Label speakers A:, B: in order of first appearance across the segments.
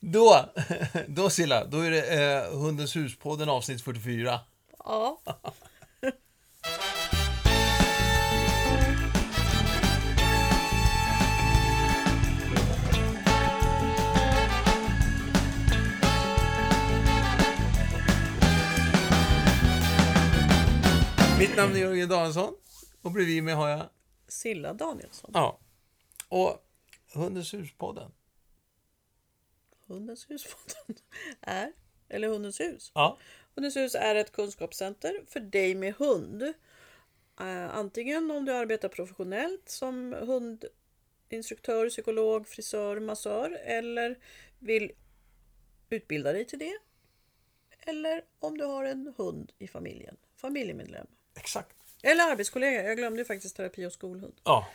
A: Då, då Silla, då är det eh, Hundens hus-podden avsnitt 44.
B: Ja.
A: Mitt namn är Jörgen Danielsson och bredvid mig har jag...
B: Silla Danielsson.
A: Ja. Och Hundens hus-podden.
B: Hundens husfonden är, eller Hundens hus.
A: Ja.
B: Hundens hus är ett kunskapscenter för dig med hund. Eh, Antingen om du arbetar professionellt som hundinstruktör, psykolog, frisör, massör eller vill utbilda dig till det. Eller om du har en hund i familjen, familjemedlem.
A: Exakt.
B: Eller arbetskollega, jag glömde ju faktiskt terapi och skolhund.
A: Ja.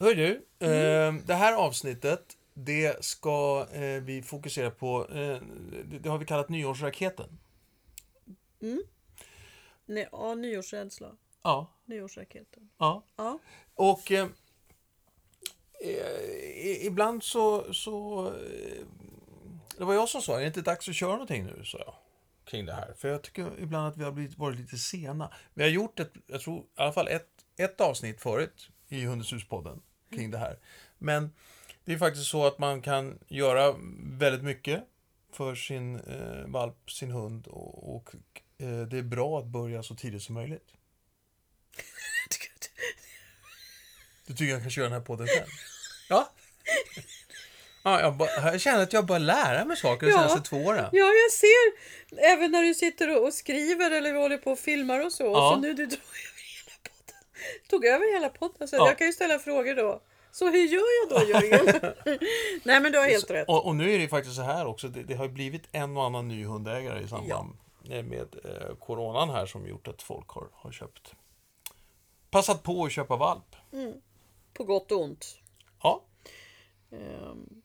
A: Hör du, eh, det här avsnittet det ska eh, vi fokusera på, eh, det- det har vi kallat nyårsraketen.
B: Nej, ja, nyårsrädsla,
A: Ja.
B: nyårsraketen.
A: ja.
B: Ja.
A: Och eh, eh, i- ibland så, så... eh, Det var jag som sa, är det inte dags att köra någonting nu? sa jag. Kring det här. För jag tycker ibland att vi har blivit, varit lite sena. Vi har gjort ett, jag tror i alla fall ett, ett avsnitt förut i Hundens hus-podden kring det här. Men det är faktiskt så att man kan göra väldigt mycket för sin eh, valp, sin hund och, och eh, det är bra att börja så tidigt som möjligt.
B: Jag tycker att-
A: Du tycker jag kan köra den här podden själv? Ja. ja jag, bara- jag känner att jag börjar lära mig saker de
B: Ja.
A: senaste två åren.
B: Ja, jag ser även när du sitter och- och skriver eller håller på och filmar och så.
A: Ja.
B: Så nu du tog över hela podden. Tog över hela podden. Så
A: Ja.
B: jag kan ju ställa frågor då. Så hur gör jag då Jörgen? Nej men du har helt rätt.
A: Och, och nu är det ju faktiskt så här också, det, det har ju blivit en och annan ny hundägare i samband eh, med eh, coronan här som gjort att folk har, har köpt, passat på att köpa valp.
B: På gott och ont.
A: Ja,
B: Ehm,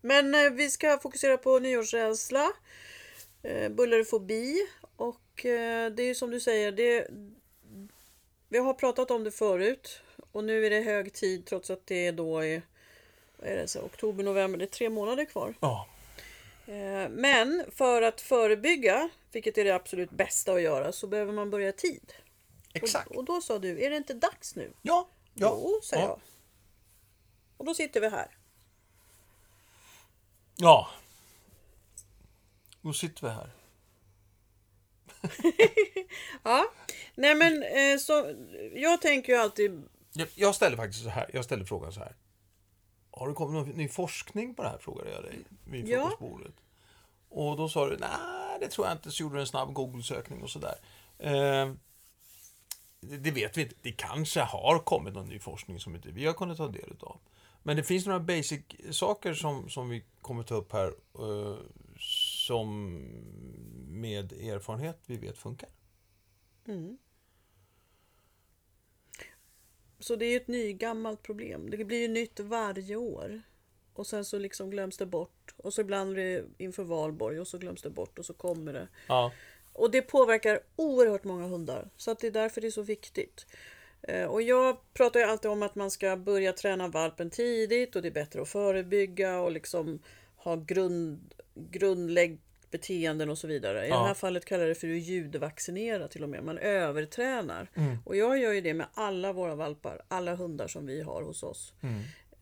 B: Men eh, vi ska fokusera på nyårsrädsla, eh, bullerfobi och eh, det är ju som du säger, det, vi har pratat om det förut och nu är det hög tid trots att det är då i vad är det, så, oktober, november, det är tre månader kvar.
A: ja,
B: Eh, Men för att förebygga, vilket är det absolut bästa att göra, så behöver man börja i tid.
A: exakt.
B: Och, och då sa du, är det inte dags nu?
A: Ja, ja.
B: Jo, sa
A: ja.
B: jag. Och då sitter vi här.
A: Ja. Då sitter vi här.
B: Ja, nej men eh, så, jag tänker ju alltid,
A: Jag, jag ställer faktiskt så här, jag ställer frågan så här. Har det kommit någon ny forskning på det här? Frågade jag dig vid
B: Ja.
A: frukostbordet. Och då sa du, nej det tror jag inte. Så gjorde du en snabb Google-sökning och sådär. Eh, det, det vet vi inte. Det kanske har kommit någon ny forskning som inte vi har kunnat ta del av. Men det finns några basic saker som, som vi kommer ta upp här. Eh, som med erfarenhet vi vet funkar.
B: så det är ju ett nygammalt problem. Det blir ju nytt varje år. Och sen så liksom glöms det bort. Och så ibland är det inför valborg och så glöms det bort och så kommer det.
A: Ja.
B: Och det påverkar oerhört många hundar. Så att det är därför det är så viktigt. Eh, Och jag pratar ju alltid om att man ska börja träna valpen tidigt och det är bättre att förebygga och liksom ha grund, grundlägg beteenden och så vidare. I
A: Ja.
B: det här fallet kallar jag det för att ljudvaccinera till och med. Man övertränar. Och jag gör ju det med alla våra valpar, alla hundar som vi har hos oss.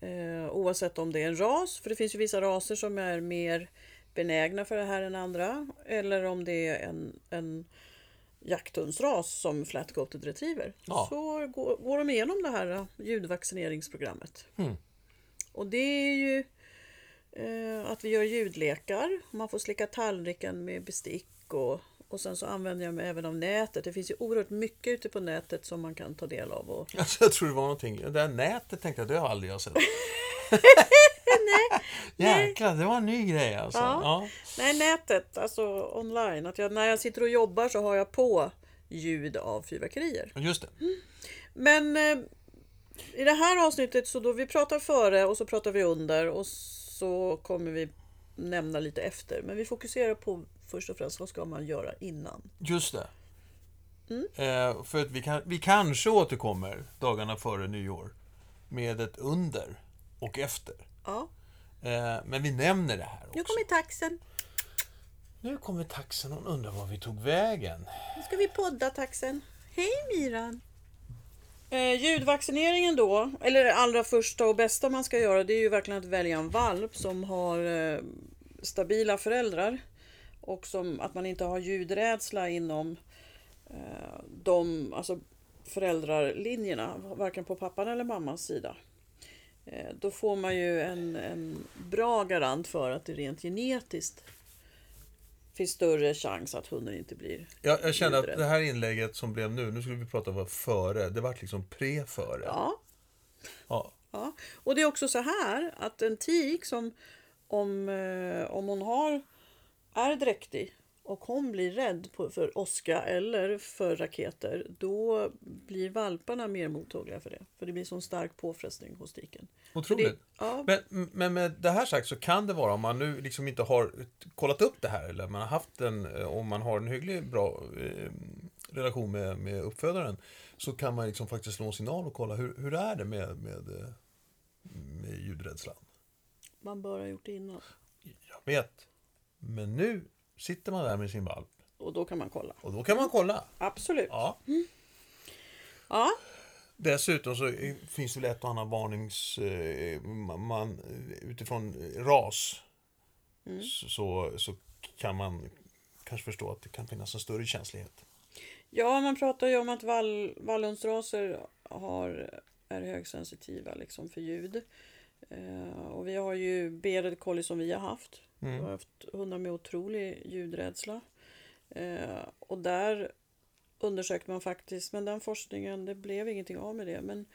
B: Eh, oavsett om det är en ras, för det finns ju vissa raser som är mer benägna för det här än andra. Eller om det är en, en jakthundsras som flat-coated retriever.
A: Ja.
B: Så går, går de igenom det här eh, ljudvaccineringsprogrammet. Och det är ju eh, att vi gör ljudlekar. Man får slicka tallriken med bestick och, och sen så använder jag mig även av nätet. Det finns ju oerhört mycket ute på nätet som man kan ta del av. Och,
A: Alltså, jag tror det var någonting. Det där nätet tänkte jag, det har aldrig jag sett. nej. Jäklar, det var en ny grej alltså. Ja. Ja.
B: Ja. Nej, nätet, alltså online. Att jag, när jag sitter och jobbar så har jag på ljud av fyrverkerier.
A: Just det.
B: Men eh, i det här avsnittet så då vi pratar före och så pratar vi under och så kommer vi nämna lite efter. Men vi fokuserar på först och främst vad ska man göra innan.
A: Just det. Eh, för att vi, kan, vi kanske återkommer dagarna före nyår med ett under och efter.
B: Ja,
A: Eh, Men vi nämner det här
B: Nu
A: också.
B: kommer taxen.
A: Nu kommer taxen, hon undrar var vi tog vägen.
B: Nu ska vi podda taxen. Hej Miran! Eh, ljudvaccineringen då, eller det allra första och bästa man ska göra, det är ju verkligen att välja en valp som har eh, stabila föräldrar och som, att man inte har ljudrädsla inom eh, de alltså föräldrarlinjerna, varken på pappan eller mammans sida. Eh, då får man ju en, en bra garant för att det rent genetiskt finns större chans att hunden inte blir
A: Jag, jag kände att
B: Ljudrädd.
A: det här inlägget som blev nu, nu skulle vi prata om vad före, det vart liksom pre-före.
B: Ja,
A: Ja.
B: ja. Och det är också så här att en tik som om, eh, om hon har, är dräktig och hon blir rädd på, för åska eller för raketer, då blir valparna mer mottagliga för det. För det blir sån stark påfrestning hos tiken. För
A: Otroligt.
B: Det, ja,
A: Men, men med det här sagt så kan det vara om man nu liksom inte har kollat upp det här eller man har haft en, eh, om man har en hygglig bra eh, relation med, med uppfödaren så kan man liksom faktiskt slå en signal och kolla hur, hur är det med, med, eh, med ljudrädslan.
B: man bör ha gjort det innan.
A: Jag vet. Men nu sitter man där med sin valp
B: Och då kan man kolla.
A: och då kan man kolla.
B: Absolut.
A: Ja.
B: Ja,
A: Dessutom så eh, finns det väl ett och annat varnings... eh, ma- Man, eh, utifrån eh, ras
B: Mm.
A: så, så- så kan man kanske förstå att det kan finnas en större känslighet.
B: ja man pratar ju om att vall, vallhundsraser har, är högsensitiva liksom för ljud. Eh, och vi har ju bearded collie som vi har haft. Vi
A: Mm.
B: har haft hundar med otrolig ljudrädsla. Eh, och där undersökte man faktiskt, men den forskningen, det blev ingenting av med det. Men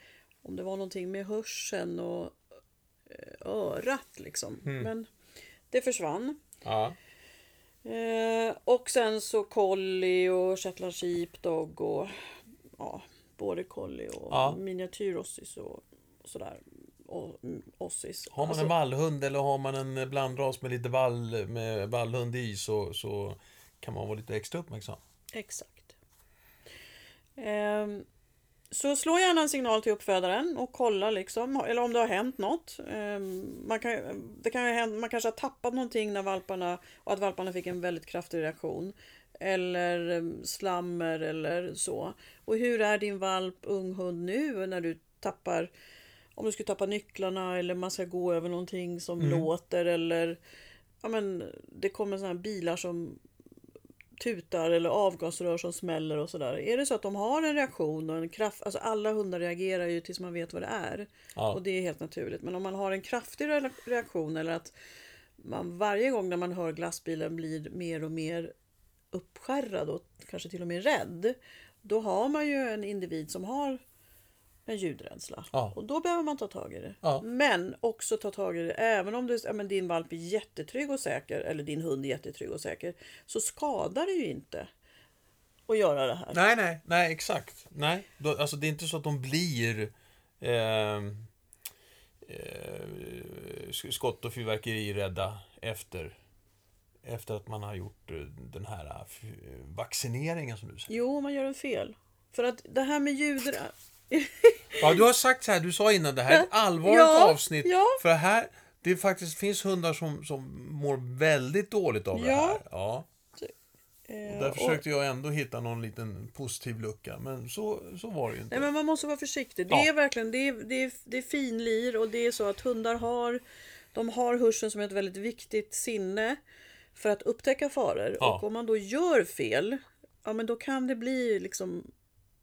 B: om det var någonting med hörseln och eh, örat liksom. Men det försvann.
A: Ja.
B: Eh, och sen så collie och shetland sheepdog och ja, både collie och
A: Ja.
B: miniatyrossis och sådär. Och mm, ossis.
A: Har man
B: Alltså,
A: en vallhund eller har man en blandras med lite vall, med vallhund i så, så kan man vara lite extra uppmärksam.
B: Exakt. Ehm, så slå gärna en signal till uppfödaren och kolla liksom, eller om det har hänt något. Ehm, man, kan, det kan ju hända, man kanske har tappat någonting när valparna, och att valparna fick en väldigt kraftig reaktion. Eller ehm, slammer eller så. Och hur är din valp, ung hund nu när du tappar, om du skulle tappa nycklarna eller man ska gå över någonting som låter eller ja, men, det kommer sådana här bilar som tutar eller avgasrör som smäller och sådär. Är det så att de har en reaktion och en kraft, alltså alla hundar reagerar ju tills man vet vad det är.
A: Ja.
B: Och det är helt naturligt. Men om man har en kraftig re- reaktion eller att man varje gång när man hör glassbilen blir mer och mer uppskärrad och kanske till och med rädd. Då har man ju en individ som har en ljudrädsla.
A: Ja.
B: Och då behöver man ta tag i det.
A: Ja.
B: Men också ta tag i det, även om du, ja, men din valp är jättetrygg och säker, eller din hund är jättetrygg och säker, så skadar det ju inte att göra det här.
A: Nej, nej, nej, exakt. Nej, då, alltså det är inte så att de blir eh, eh, sk- skott och fyrverkeri rädda efter, efter att man har gjort eh, den här eh, f- eh, vaccineringen som du säger.
B: Jo, man gör en fel. För att det här med ljud...
A: Ja, du har sagt så här, du sa innan, det här är ett allvarligt
B: Ja,
A: avsnitt.
B: ja.
A: För här, det faktiskt finns hundar som, som mår väldigt dåligt av det
B: Ja.
A: här. Ja.
B: eh,
A: Där
B: och-
A: försökte jag ändå hitta någon liten positiv lucka, men så, så var det ju inte.
B: Nej, men man måste vara försiktig. Det
A: Ja.
B: är verkligen det är, det är, det är finlir och det är så att hundar har de har hörseln som ett väldigt viktigt sinne för att upptäcka faror.
A: Ja.
B: Och om man då gör fel, ja men då kan det bli liksom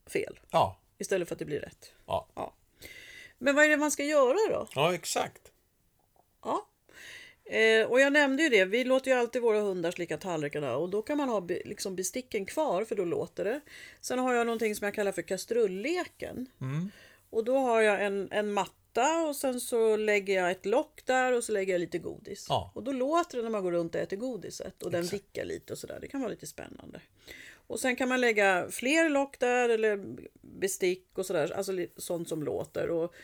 B: fel
A: Ja,
B: istället för att det blir rätt.
A: ja,
B: Ja. Men vad är det man ska göra då?
A: ja, exakt.
B: Ja. Eh, och jag nämnde ju det, vi låter ju alltid våra hundar slicka tallrikarna och då kan man ha be, liksom besticken kvar för då låter det. Sen har jag någonting som jag kallar för kastrulleken. Och då har jag en, en matta och sen så lägger jag ett lock där och så lägger jag lite godis.
A: Ja.
B: Och då låter det när man går runt och äter godiset och den vickar lite och sådär. Det kan vara lite spännande. Och sen kan man lägga fler lock där eller bestick och sådär, alltså li- sånt som låter. Och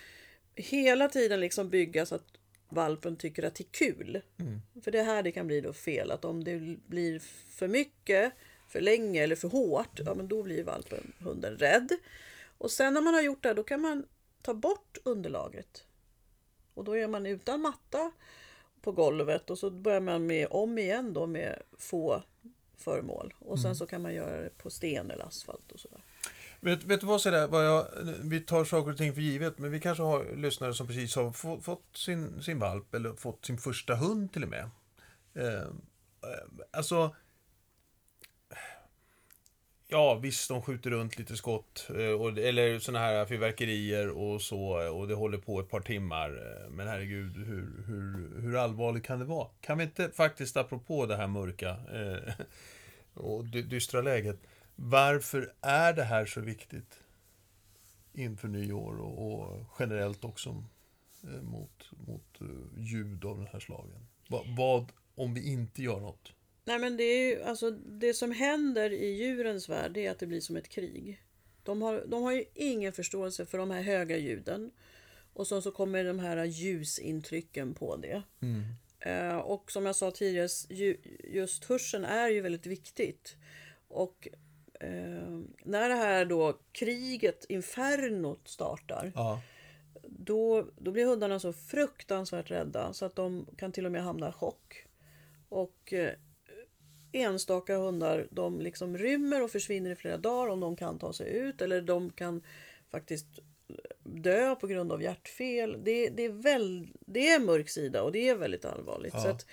B: hela tiden liksom bygga så att valpen tycker att det är kul. För det är här det kan bli då fel, att om det blir för mycket, för länge eller för hårt, ja men då blir valpen, hunden rädd. Och sen när man har gjort det här, då kan man ta bort underlaget. Och då är man utan matta på golvet och så börjar man med om igen då med få föremål. Och sen så kan man göra det på sten eller asfalt och sådär.
A: Vet, vet du vad, sådär, vad jag, vi tar saker och ting för givet, men vi kanske har lyssnare som precis har få, fått sin, sin valp eller fått sin första hund till och med. Eh, eh, alltså, ja visst, de skjuter runt lite skott eh, och, eller sådana här fyrverkerier och så eh, och det håller på ett par timmar. eh, Men herregud, hur, hur, hur allvarligt kan det vara? Kan vi inte faktiskt, apropå det här mörka eh, och dy- dystra läget, varför är det här så viktigt inför nyår och, och generellt också eh, mot, mot eh, ljud av den här slagen? Va, vad om vi inte gör något?
B: Nej men det är ju, alltså det som händer i djurens värld det är att det blir som ett krig. De har, de har ju ingen förståelse för de här höga ljuden. Och sen så kommer de här ljusintrycken på det. Eh, och som jag sa tidigare, ju, just hörseln är ju väldigt viktigt. Och eh, när det här då kriget, infernot, startar
A: Ja.
B: då, då blir hundarna så fruktansvärt rädda så att de kan till och med hamna i chock. Och eh, enstaka hundar de liksom rymmer och försvinner i flera dagar om de kan ta sig ut eller de kan faktiskt eh, dö på grund av hjärtfel. Det, det, är, väl, det är en mörk sida och det är väldigt allvarligt. Så att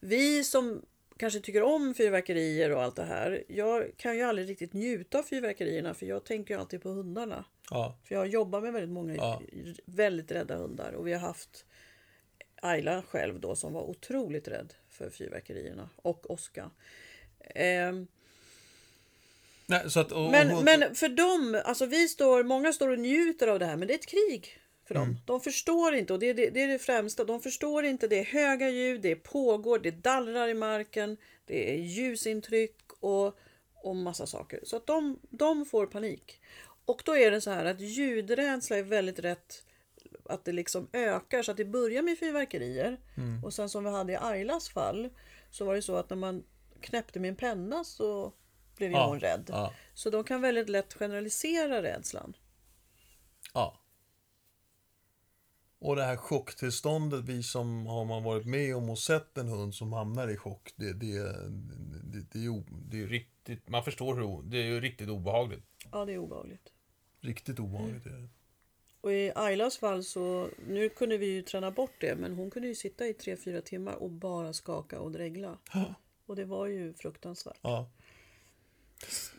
B: vi som kanske tycker om fyrverkerier och allt det här. Jag kan ju aldrig riktigt njuta av fyrverkerierna för jag tänker ju alltid på hundarna.
A: ja.
B: För jag jobbar med väldigt många
A: Ja.
B: väldigt rädda hundar och vi har haft Ayla själv då som var otroligt rädd för fyrverkerierna och åska. Ehm,
A: Nej, så att, och,
B: men,
A: och,
B: men för dem, alltså vi står, många står och njuter av det här men det är ett krig för dem.
A: Mm.
B: De förstår inte och det är det, det är det främsta, de förstår inte, det är höga ljud, det pågår, det dallrar i marken, det är ljusintryck och, och massa saker. Så att de, de får panik. Och då är det så här att ljudrädsla är väldigt rätt att det liksom ökar så att det börjar med fyrverkerier
A: Mm.
B: och sen som vi hade i Aylas fall så var det så att när man knäppte med en penna så blev ju
A: Ja,
B: hon rädd.
A: ja.
B: Så de kan väldigt lätt generalisera rädslan.
A: Ja. Och det här chocktillståndet, vi som har man varit med om och sett en hund som hamnar i chock, det, det, det, det, är, ju- det är ju riktigt, man förstår hur, o- det är ju riktigt obehagligt.
B: Ja, det är obehagligt.
A: Riktigt
B: Mm.
A: obehagligt är det.
B: Och i Aylas fall så, nu kunde vi ju träna bort det, men hon kunde ju sitta i 3-4 timmar och bara skaka och dregla. Och det var ju fruktansvärt.
A: Ja.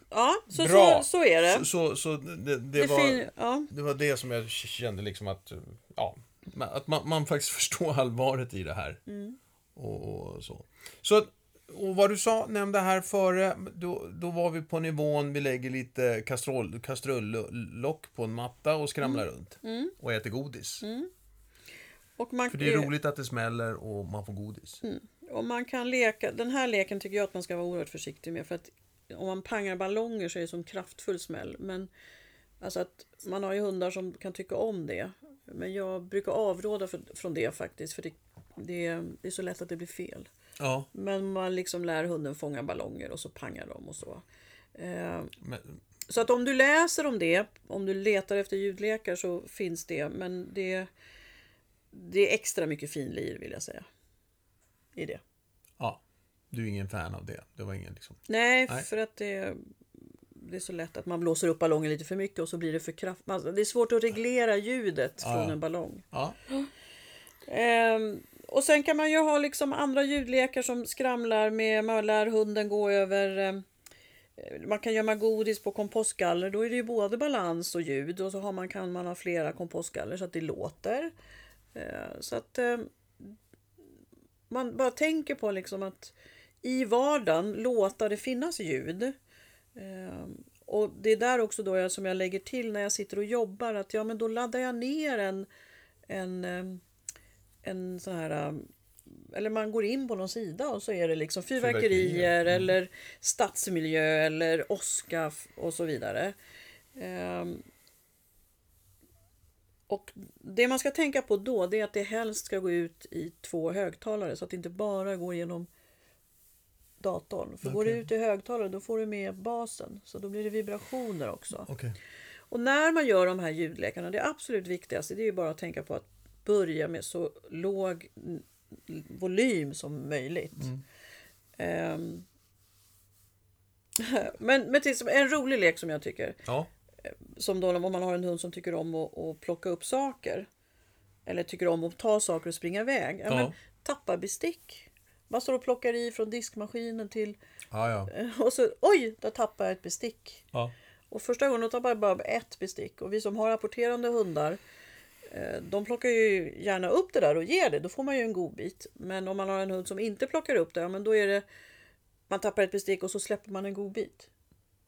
B: Ja, så,
A: Bra.
B: så, så är det.
A: Så, så, så det,
B: det,
A: det,
B: är fin,
A: var,
B: ja.
A: det var det som jag kände liksom att, ja, men att man, man faktiskt förstår allvaret i det här.
B: Mm.
A: Och, och så. Så att, och vad du sa, nämnde här före, då, då var vi på nivån, vi lägger lite kastrull, kastrullock på en matta och skramlar
B: Mm.
A: runt. Och äter godis.
B: Och man,
A: För det är roligt att det smäller och man får godis.
B: Och man kan leka, den här leken tycker jag att man ska vara oerhört försiktig med för att om man pangar ballonger så är det som kraftfull smäll. Men alltså att man har ju hundar som kan tycka om det. Men jag brukar avråda för, från det faktiskt för det, det, det är så lätt att det blir fel.
A: Ja,
B: Men man liksom lär hunden fånga ballonger och så pangar de och så. Eh,
A: men,
B: så att om du läser om det, om du letar efter ljudlekar så finns det. Men det, det är extra mycket finlir vill jag säga. I det.
A: ja. Du är ingen fan av det. Det var ingen liksom.
B: Nej,
A: Nej.
B: för att det, det är så lätt att man blåser upp ballongen lite för mycket och så blir det för kraft. Alltså, det är svårt att reglera ljudet
A: Ja,
B: från
A: ja.
B: en ballong.
A: Ja,
B: Ehm, och sen kan man ju ha liksom andra ljudlekar som skramlar med, man lär hunden gå över ehm, man kan gömma godis på kompostgaller, då är det ju både balans och ljud och så har man, kan man ha flera kompostgaller så att det låter. Eh, Så att eh, man bara tänker på liksom att i vardagen låta det finnas ljud. Eh, Och det är där också då jag, som jag lägger till när jag sitter och jobbar att ja men då laddar jag ner en, en, eh, en sån här eh, eller man går in på någon sida och så är det liksom fyrverkerier
A: Fyrverkerier.
B: miljöer eller stadsmiljö eller åska f- och så vidare. Ehm, och det man ska tänka på då det är att det helst ska gå ut i två högtalare så att det inte bara går genom datorn. För går det
A: Okej.
B: ut i högtalare då får du med basen så då blir det vibrationer också.
A: okej.
B: Och när man gör de här ljudlekarna, det absolut viktigaste det är ju bara att tänka på att börja med så låg volym som möjligt. Ehm. men, men till, exempel, en rolig lek som jag tycker,
A: Ja.
B: som då om man har en hund som tycker om att, att plocka upp saker. Eller tycker om att ta saker och springa iväg. Ja,
A: Ja.
B: men, tappa bestick. Man står och plockar i från diskmaskinen till...
A: Ja, ja.
B: Och så, oj, där tappade jag ett bestick.
A: ja.
B: Och första gången då tappade jag bara ett bestick. Och vi som har rapporterande hundar, eh, de plockar ju gärna upp det där och ger det. Då får man ju en god bit. Men om man har en hund som inte plockar upp det, ja, men då är det... Man tappar ett bestick och så släpper man en god bit.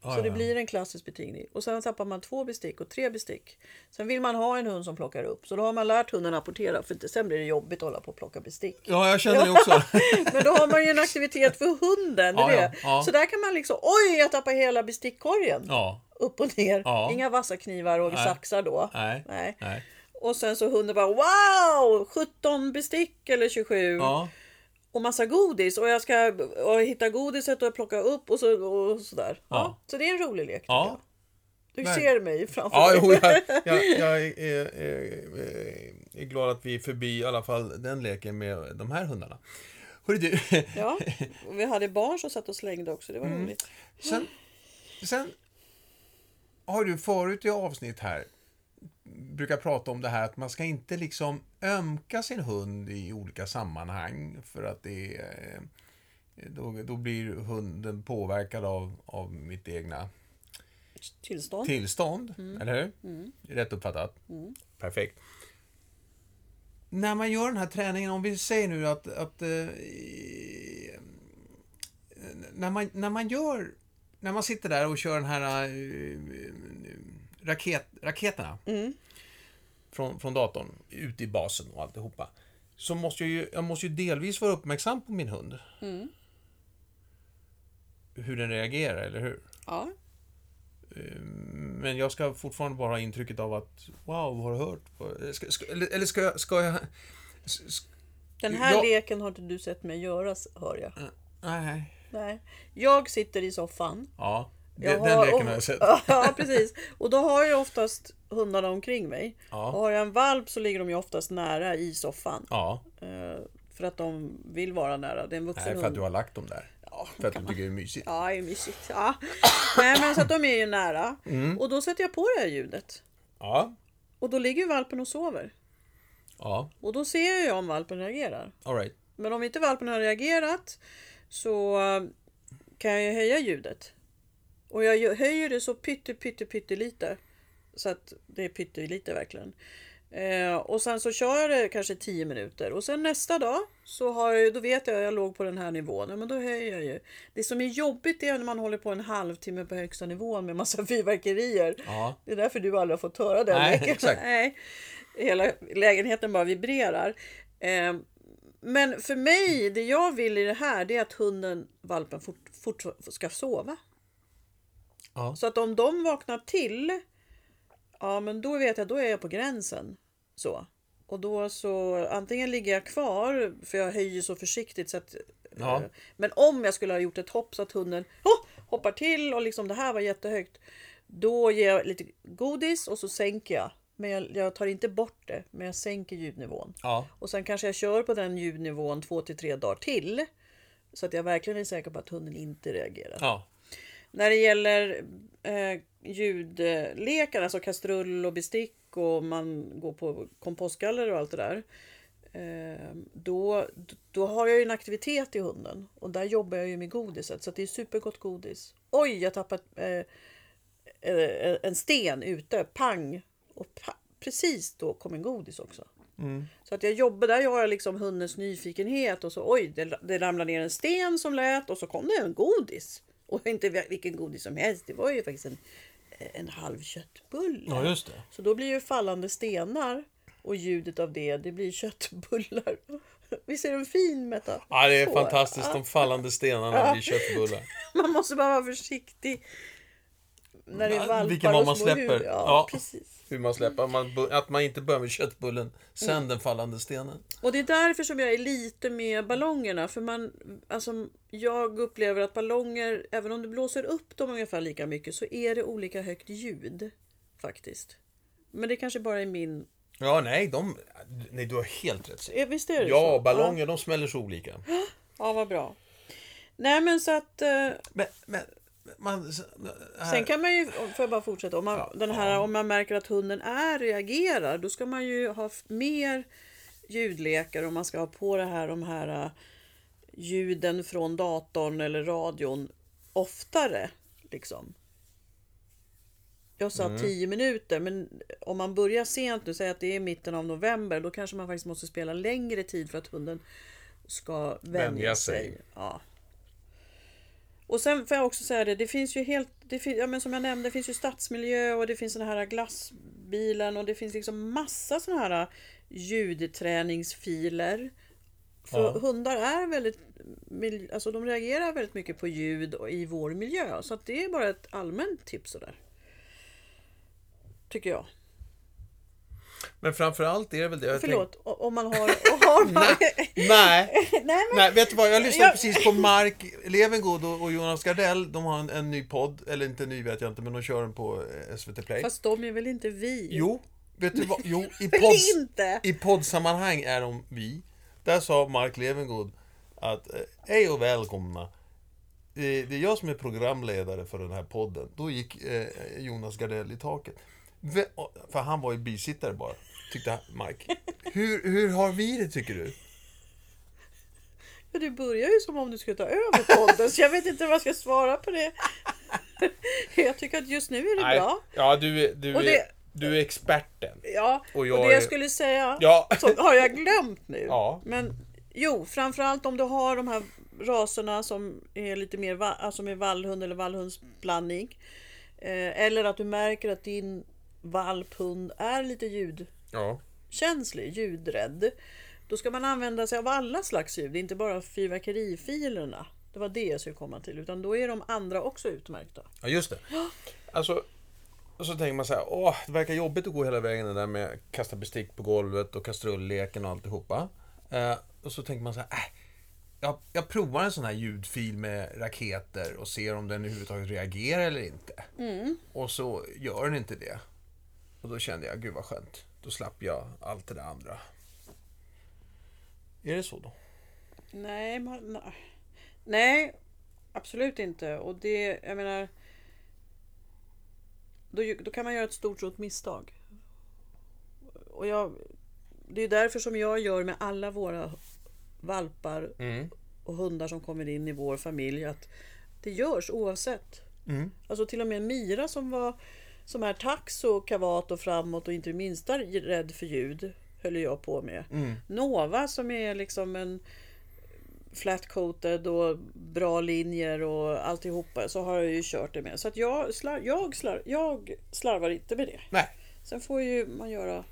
A: Ja,
B: Så
A: ja,
B: det
A: ja.
B: blir en klassisk betingning. Och sen tappar man två bestick och tre bestick. Sen vill man ha en hund som plockar upp. Så då har man lärt hunden apportera. För sen blir det jobbigt att hålla på och plocka bestick.
A: Ja, jag känner det också.
B: Men då har man ju en aktivitet för hunden. det är
A: Ja, ja,
B: det.
A: ja.
B: Så där kan man liksom, oj jag tappar hela bestickkorgen.
A: Ja.
B: Upp och ner.
A: Ja.
B: Inga vassa knivar och
A: Nej.
B: saxar då.
A: Nej.
B: Nej.
A: Nej.
B: Och sen så hunden bara wow! 17 bestick eller 27.
A: Ja.
B: Och massa godis. Och jag ska och hitta godiset och plocka upp och, så, och sådär. Ja.
A: Ja.
B: Så det är en rolig lek. tycker
A: Ja.
B: Jag. Du
A: Nej.
B: ser mig framför
A: Ja,
B: dig.
A: jo, jag, jag, jag är, är, är, är glad att vi är förbi i alla fall den leken med de här hundarna. Hörru du,
B: Ja. Och vi hade barn som satt och slängde också. Det var
A: Mm.
B: roligt.
A: sen, sen har du förut i avsnitt här brukar prata om det här att man ska inte liksom ömka sin hund i olika sammanhang för att det är, då, då blir hunden påverkad av, av mitt egna
B: Tillstånd.
A: tillstånd, eller hur? Rätt uppfattat. Perfekt. När man gör den här träningen, om vi säger nu att, att eh, i- eh, när, man, när man gör, när man sitter där och kör den här eh, raket, raketerna från, från datorn ut i basen och alltihopa. Så måste jag ju, jag måste ju delvis vara uppmärksam på min hund. Hur den reagerar, eller hur?
B: Ja.
A: Eh, Men jag ska fortfarande bara ha intrycket av att wow, har du hört? på- Ska, ska, eller eller ska, jag- ska jag... s- s-
B: Den här
A: Jag-
B: leken har inte du sett mig göra hör jag.
A: eh, Nej.
B: Nej. Jag sitter i soffan.
A: Ja, de-
B: Jag
A: den leken har jag
B: och-
A: sett.
B: Ja, precis. Och då har jag oftast hundarna omkring mig.
A: Ja.
B: Och har jag en valp så ligger de ju oftast nära i soffan.
A: Ja,
B: Eh, För att de vill vara nära. Det är en vuxen
A: nej, för att
B: hund.
A: du har lagt dem där. för att du tycker det är mysigt.
B: Ja, det är mysigt. Ja. Nej, men så att de är ju nära.
A: Mm.
B: Och då sätter jag på det här ljudet.
A: Ja,
B: Och då ligger ju valpen och sover.
A: ja,
B: Och då ser jag om valpen reagerar.
A: all right.
B: Men om inte valpen har reagerat så eh, kan jag ju höja ljudet. Och jag gö- höjer det så pytte, pytte, pyttelite. Så att det är pyttelite verkligen. Eh, och sen så kör jag det kanske 10 minuter och sen nästa dag så har jag, ju- då vet jag att jag låg på den här nivån. Ja, men då höjer jag ju. Det som är jobbigt är när man håller på en halvtimme på högsta nivån med massa fyrverkerier.
A: Ja.
B: Det är därför du aldrig har fått höra den
A: Nej,
B: leken.
A: exakt.
B: Nej. Hela lägenheten bara vibrerar. Eh, men för mig, det jag vill i det här, det är att hunden, valpen, fort, fort ska sova.
A: Ja.
B: Så att om de vaknar till, ja men då vet jag, då är jag på gränsen. Så. Och då så, antingen ligger jag kvar, för jag höjer så försiktigt så att...
A: Ja.
B: eh, Men om jag skulle ha gjort ett hopp så att hunden "Ho!" hoppar till och liksom det här var jättehögt. Då ger jag lite godis och så sänker jag. Men jag, jag tar inte bort det, men jag sänker ljudnivån.
A: Ja,
B: Och sen kanske jag kör på den ljudnivån två till tre dagar till. Så att jag verkligen är säker på att hunden inte reagerar.
A: ja,
B: När det gäller eh, ljudlekar, alltså kastrull och bestick och man går på kompostgaller och allt det där. Eh, då, då har jag ju en aktivitet i hunden och där jobbar jag ju med godiset så att det är supergott godis. Oj, jag tappat eh, eh, en sten ute, pang! Och pa- precis då kom en godis också.
A: Mm.
B: Så att jag jobbar där, jag har liksom hundens nyfikenhet och så oj, det, det ramlade ner en sten som lät och så kom det en godis. Och inte vilken godis som helst, det var ju faktiskt en, en halv köttbulle.
A: ja, just det.
B: Så då blir ju fallande stenar och ljudet av det, det blir köttbullar. Visst är den fin Meta?
A: Ja, det är
B: Så.
A: fantastiskt. De fallande stenarna blir köttbullar.
B: Man måste bara vara försiktig. När det
A: Ja,
B: är valpar
A: vilken man
B: och små
A: släpper.
B: huvud. Ja,
A: Ja.
B: precis.
A: Hur man släpper, man, bu- att man inte börjar med köttbullen, sen den fallande stenen.
B: Och det är därför som jag är lite med ballongerna. För man, alltså, jag upplever att ballonger, även om du blåser upp dem ungefär lika mycket, så är det olika högt ljud. Faktiskt. Men det kanske bara är min
A: Ja, nej, de, nej, du har helt rätt.
B: Eh, Visst är det så?
A: Ja, ballonger, de smäller så olika.
B: Ja, ja vad bra. Nej men så att eh,
A: Men, men man... äh. Här,
B: sen kan man ju, får jag bara fortsätta, om man, den här, om man märker att hunden är reagerar då ska man ju ha f- mer ljudlekar och man ska ha på det här de här eh, ljuden från datorn eller radion oftare. Liksom. Jag sa
A: Mm.
B: 10 minuter men om man börjar sent nu, säg att det är mitten av november, då kanske man faktiskt måste spela längre tid för att hunden ska vänja,
A: Vänja sig.
B: sig. Ja. Och sen får jag också säga det, det finns ju helt, det fin, ja, men som jag nämnde, det finns ju stadsmiljö och det finns den här glassbilen och det finns liksom massa sådana här ljudträningsfiler. För
A: Ja.
B: hundar är väldigt, mil- alltså de reagerar väldigt mycket på ljud och i vår miljö. Så att det är bara ett allmänt tips sådär. Tycker jag.
A: Men framförallt är det väl det... Jag
B: Förlåt, o- om man har... och har man...
A: Tänk, nej,
B: Nej, men,
A: nej, vet du vad? Jag lyssnade
B: Jag-
A: precis på Mark Levengood och och Jonas Gardell. De har en, en ny podd, eller inte ny vet jag inte, men de kör den på eh, SVT Play.
B: Fast de är väl inte vi?
A: Jo, vet du vad? Jo, i,
B: Väl
A: pods,
B: inte?
A: i poddsammanhang är de vi. Där sa Mark Levengood att eh, hej och välkomna. Eh, Det är jag som är programledare för den här podden. Då gick eh, Jonas Gardell i taket. Ve- och- För han var ju bisittare bara, tyckte han- Mark. Hur, hur har vi det tycker du?
B: Ja, du börjar ju som om du skulle ta över podden, så jag vet inte vad jag ska svara på det. Jag tycker att just nu är det bra.
A: Ja, du, är- du,
B: Och
A: är-
B: det-
A: du är experten.
B: Ja,
A: Och
B: och,
A: jag
B: det
A: är-
B: jag skulle säga
A: Ja.
B: som, har jag glömt nu.
A: Ja.
B: Men jo, framförallt om du har de här raserna som är lite mer va- alltså med vallhund eller vallhundsblandning. Eh, eller att du märker att din valphund är lite ljud
A: Ja.
B: känslig, ljudrädd. Då ska man använda sig av alla slags ljud, inte bara fyrverkerifilerna. Det var det jag skulle komma till. Utan då är de andra också utmärkta.
A: Ja, just det. Alltså, och så tänker man så här, åh, det verkar jobbigt att gå hela vägen det där med att kasta bestick på golvet och kastrullleken och alltihopa. Eh, och så tänker man så här, äh, jag, jag provar en sån här ljudfil med raketer och ser om den överhuvudtaget reagerar eller inte.
B: Mm.
A: Och så gör den inte det. Och då kände jag, gud vad skönt. Då slapp jag allt det där andra. Är det så då?
B: Nej, man, nej. nej, absolut inte. Och det, jag menar, då, ju- då kan man göra ett stort, stort misstag. Och jag, det är därför som jag gör med alla våra valpar och hundar som kommer in i vår familj att det görs oavsett. Alltså till och med Mira som var som är tax och kavat och framåt och inte det minsta rädd för ljud höll jag på med. Nova som är liksom en flatcoated och bra linjer och alltihopa så har jag ju kört det med. Så att jag, slar, jag, slar, jag slarvar inte med det.
A: Nej.
B: Sen får ju man göra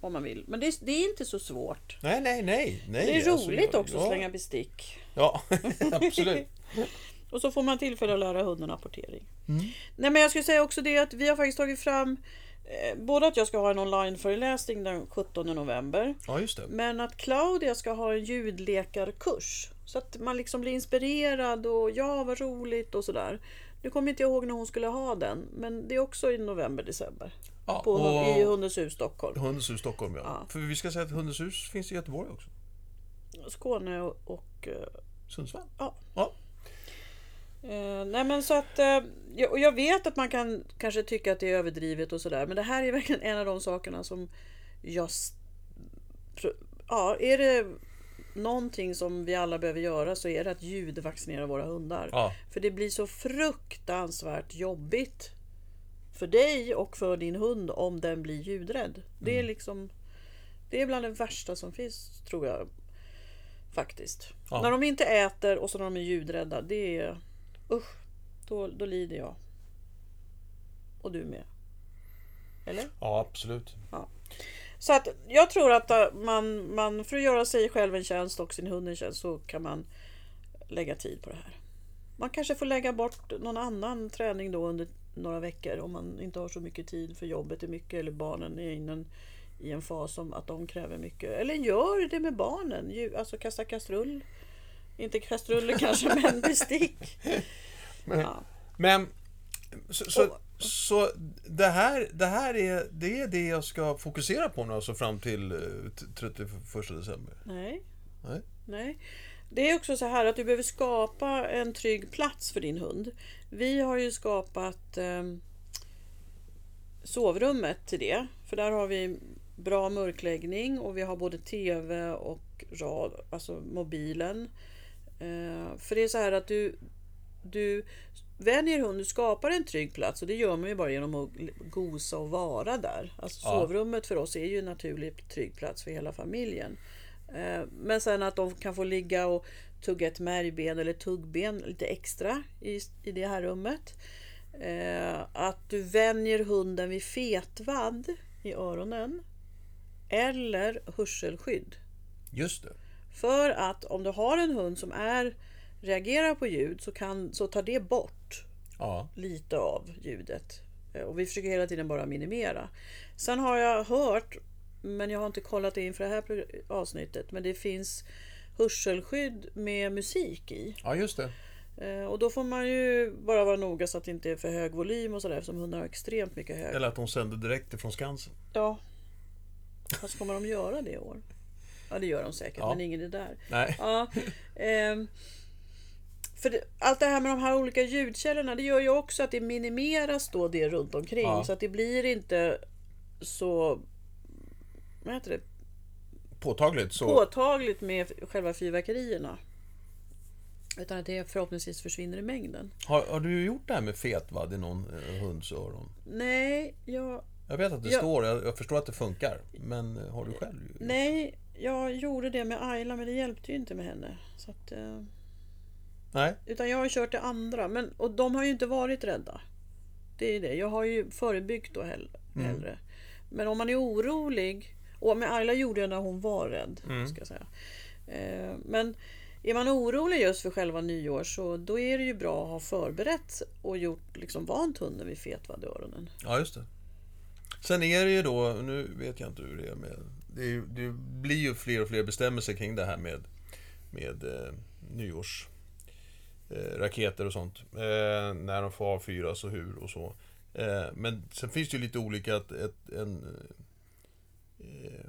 B: vad man vill. Men det, är- det är inte så svårt.
A: Nej, nej, nej. nej
B: Det är
A: alltså,
B: roligt
A: jag-
B: också att
A: ja,
B: slänga bestick.
A: Ja, absolut.
B: Och så får man tillfälle att lära hunden apportering.
A: Mm.
B: Nej men jag skulle säga också det att vi har faktiskt tagit fram eh, Både att jag ska ha en onlineföreläsning den 17 november
A: Ja, just det.
B: Men att Claudia ska ha en ljudlekarkurs Så att man liksom blir inspirerad och ja vad roligt och sådär Nu kommer inte jag ihåg när hon skulle ha den Men det är också i november, december
A: Ja,
B: på,
A: och-
B: I Hundens hus Stockholm
A: Hundens hus Stockholm ja. För vi ska säga att Hundens hus finns i Göteborg också.
B: Skåne och, och eh,
A: Sundsvall.
B: ja,
A: Ja.
B: Eh, nej men så att, eh, jag, och jag vet att man kan kanske tycka att det är överdrivet och sådär, men det här är verkligen en av de sakerna som jag... s- pr- Ja, är det någonting som vi alla behöver göra så är det att ljudvaccinera våra hundar.
A: Ja.
B: För det blir så fruktansvärt jobbigt för dig och för din hund om den blir ljudrädd. Det är liksom... Det är bland det värsta som finns, tror jag. Faktiskt.
A: Ja.
B: När de inte äter och så när de är ljudrädda, det är... Usch, då, då lider jag. Och du med. Eller?
A: ja, absolut.
B: Så att jag tror att eh, man, man för att göra sig själv en tjänst och sin hund en tjänst så kan man lägga tid på det här. Man kanske får lägga bort någon annan träning då under några veckor om man inte har så mycket tid för jobbet är mycket eller barnen är inne i en fas som att de kräver mycket. Eller gör det med barnen, Ju- alltså kasta kastrull. Inte kastruller kanske men bestick.
A: Men,
B: Ja.
A: men så, så,
B: Och-
A: Så det här, det här är, det är det jag ska fokusera på nu alltså fram till eh, t- 31 december?
B: Nej.
A: Nej.
B: Nej. Det är också så här att du behöver skapa en trygg plats för din hund. Vi har ju skapat ehm, sovrummet till det. För där har vi bra mörkläggning och vi har både TV och rad, alltså mobilen. Eh, för det är så här att du, du vänjer hunden, du skapar en trygg plats och det gör man ju bara genom att gosa och vara där. Alltså
A: Ja.
B: sovrummet för oss är ju en naturlig trygg plats för hela familjen. Eh, Men sen att de kan få ligga och tugga ett märgben eller tuggben lite extra i, i det här rummet. Eh, att du vänjer hunden vid fetvadd i öronen eller hörselskydd.
A: Just det.
B: För att om du har en hund som är, reagerar på ljud så, kan, så tar det bort
A: Ja.
B: lite av ljudet. Eh, Och vi försöker hela tiden bara minimera. Sen har jag hört, men jag har inte kollat det inför det här progr- avsnittet, men det finns hörselskydd med musik i.
A: ja, just det.
B: Eh, Och då får man ju bara vara noga så att det inte är för hög volym och sådär eftersom hundar har extremt mycket hög.
A: Eller att de sänder direkt ifrån Skansen.
B: Ja. Fast kommer de göra det i år? Ja det gör de säkert,
A: Ja.
B: men ingen det där.
A: Nej.
B: Ja, ehm, för det, allt det här med de här olika ljudkällorna det gör ju också att det minimeras då det runt omkring
A: Ja.
B: så att det blir inte så vad heter det,
A: Påtagligt så.
B: påtagligt med själva fyrverkerierna. Utan att det förhoppningsvis försvinner i mängden.
A: Har, har du gjort det här med fetvadd i någon eh, hunds öron?
B: Nej, jag,
A: Jag vet att det
B: Ja.
A: står, jag, jag förstår att det funkar. Men eh, har du själv gjort det?
B: nej, jag gjorde det med Ayla men det hjälpte ju inte med henne. Så att, eh,
A: Nej.
B: Utan jag har kört det andra. Men, och de har ju inte varit rädda. Det är ju det. Jag har ju förebyggt då hell- hellre. Men om man är orolig. Och med Ayla gjorde jag när hon var rädd. Ska jag säga. Eh, men är man orolig just för själva nyår så då är det ju bra att ha förberett och gjort, liksom vant hunden vid fetvadd i öronen.
A: Ja, just det. Sen är det ju då, nu vet jag inte hur det är med... Det, är, ju- det blir ju fler och fler bestämmelser kring det här med, med eh, nyårs... Eh, raketer och sånt. Eh, när de får avfyras och hur och så. Eh, men sen finns det ju lite olika... Ett, ett, en, eh, eh,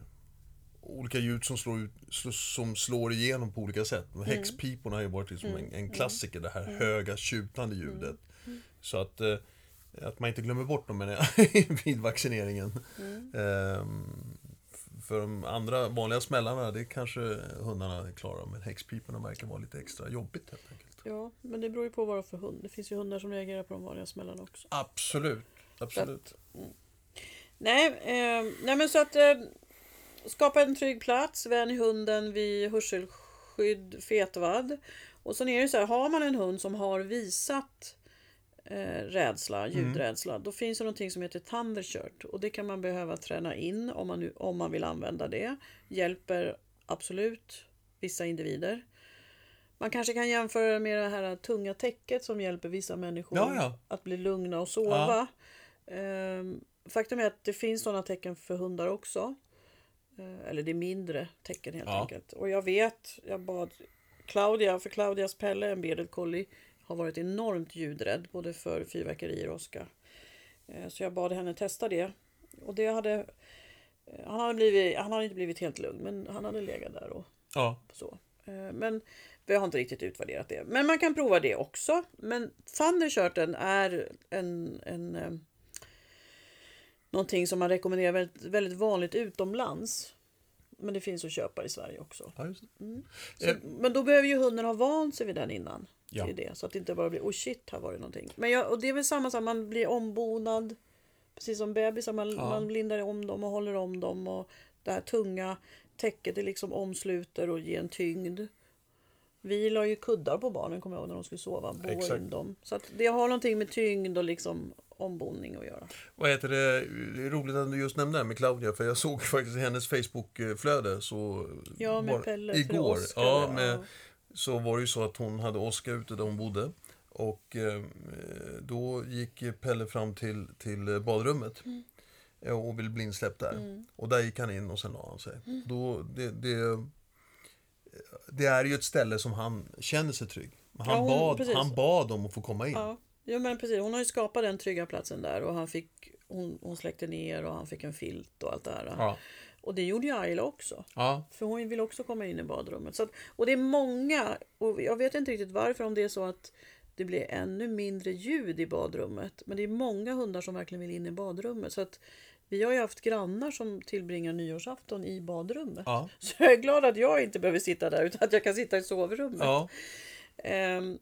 A: olika ljud som slår, ut, sl- som slår igenom på olika sätt. Häxpiporna har ju varit liksom en, en klassiker, det här höga tjutande ljudet. Så att... Eh, att man inte glömmer bort dem menar jag, vid vaccineringen. Ehm, f- för de andra vanliga smällarna, det kanske hundarna klarar men häxpiporna verkar vara lite extra jobbigt helt enkelt.
B: Ja, men det beror ju på vad det är för hund. Det finns ju hundar som reagerar på de vanliga smällarna också.
A: Absolut, absolut.
B: Nej, eh, nej men så att eh, skapa en trygg plats, vänj hunden vid hörselskydd, fetvadd. Och sen är det så här, har man en hund som har visat eh, rädsla,
A: Mm.
B: ljudrädsla, då finns det någonting som heter thundershirt och det kan man behöva träna in om man, nu, om man vill använda det. Hjälper absolut vissa individer. Man kanske kan jämföra det med det här tunga täcket som hjälper vissa människor
A: Ja, ja.
B: att bli lugna och sova. Ehm, faktum är att det finns sådana tecken för hundar också. Eh, Eller det är mindre tecken helt
A: Ja.
B: enkelt. Och jag vet, jag bad Claudia, för Claudias Pelle, en bearded collie, har varit enormt ljudrädd både för fyrverkerier och åska. Eh, Så jag bad henne testa det. Och det hade, eh, han, hade blivit, han hade inte blivit helt lugn, men han hade legat där och
A: Ja.
B: så. Eh, Men vi har inte riktigt utvärderat det. Men man kan prova det också. Men Thundershirten är en, en, eh, någonting som man rekommenderar väldigt, väldigt vanligt utomlands. Men det finns att köpa i Sverige också.
A: ja, just det.
B: Så,
A: Eh.
B: men då behöver ju hunden ha vant sig vid den innan.
A: Ja.
B: Det är det, så att det inte bara blir oh shit, här var det någonting. Men jag, och det är väl samma sak, man blir ombonad. Precis som bebisar, man, man lindar om dem och håller om dem. Och det här tunga täcket det liksom omsluter och ger en tyngd. Vi la ju kuddar på barnen kommer jag ihåg när de skulle sova. Bor
A: Exakt.
B: in dem. Så att det har någonting med tyngd och liksom omboning att göra.
A: Vad heter det, det är roligt att du just nämnde det här med Claudia för jag såg faktiskt i hennes Facebookflöde så...
B: Ja, med
A: var-
B: Pelle för
A: Igår,
B: Oscar,
A: ja,
B: ja.
A: med, så var det ju så att hon hade Oskar ute där hon bodde. Och eh, då gick Pelle fram till, till badrummet
B: Mm.
A: eh, och blev blindsläppt där. Och där gick han in och sen la han sig.
B: Mm.
A: Då, det, det, det är ju ett ställe som han känner sig trygg. Men Han,
B: Ja, hon-
A: bad,
B: precis.
A: han bad om att få komma in.
B: Ja, Ja men precis, hon har ju skapat den trygga platsen där och han fick, hon, hon släckte ner och han fick en filt och allt det här.
A: Ja.
B: Och det gjorde ju Ayla också.
A: Ja.
B: För hon vill också komma in i badrummet. Så att, och det är många, och jag vet inte riktigt varför, om det är så att det blir ännu mindre ljud i badrummet. Men det är många hundar som verkligen vill in i badrummet. Så att vi har ju haft grannar som tillbringar nyårsafton i badrummet.
A: Ja.
B: Så jag är glad att jag inte behöver sitta där utan att jag kan sitta i sovrummet.
A: ja.
B: Ehm,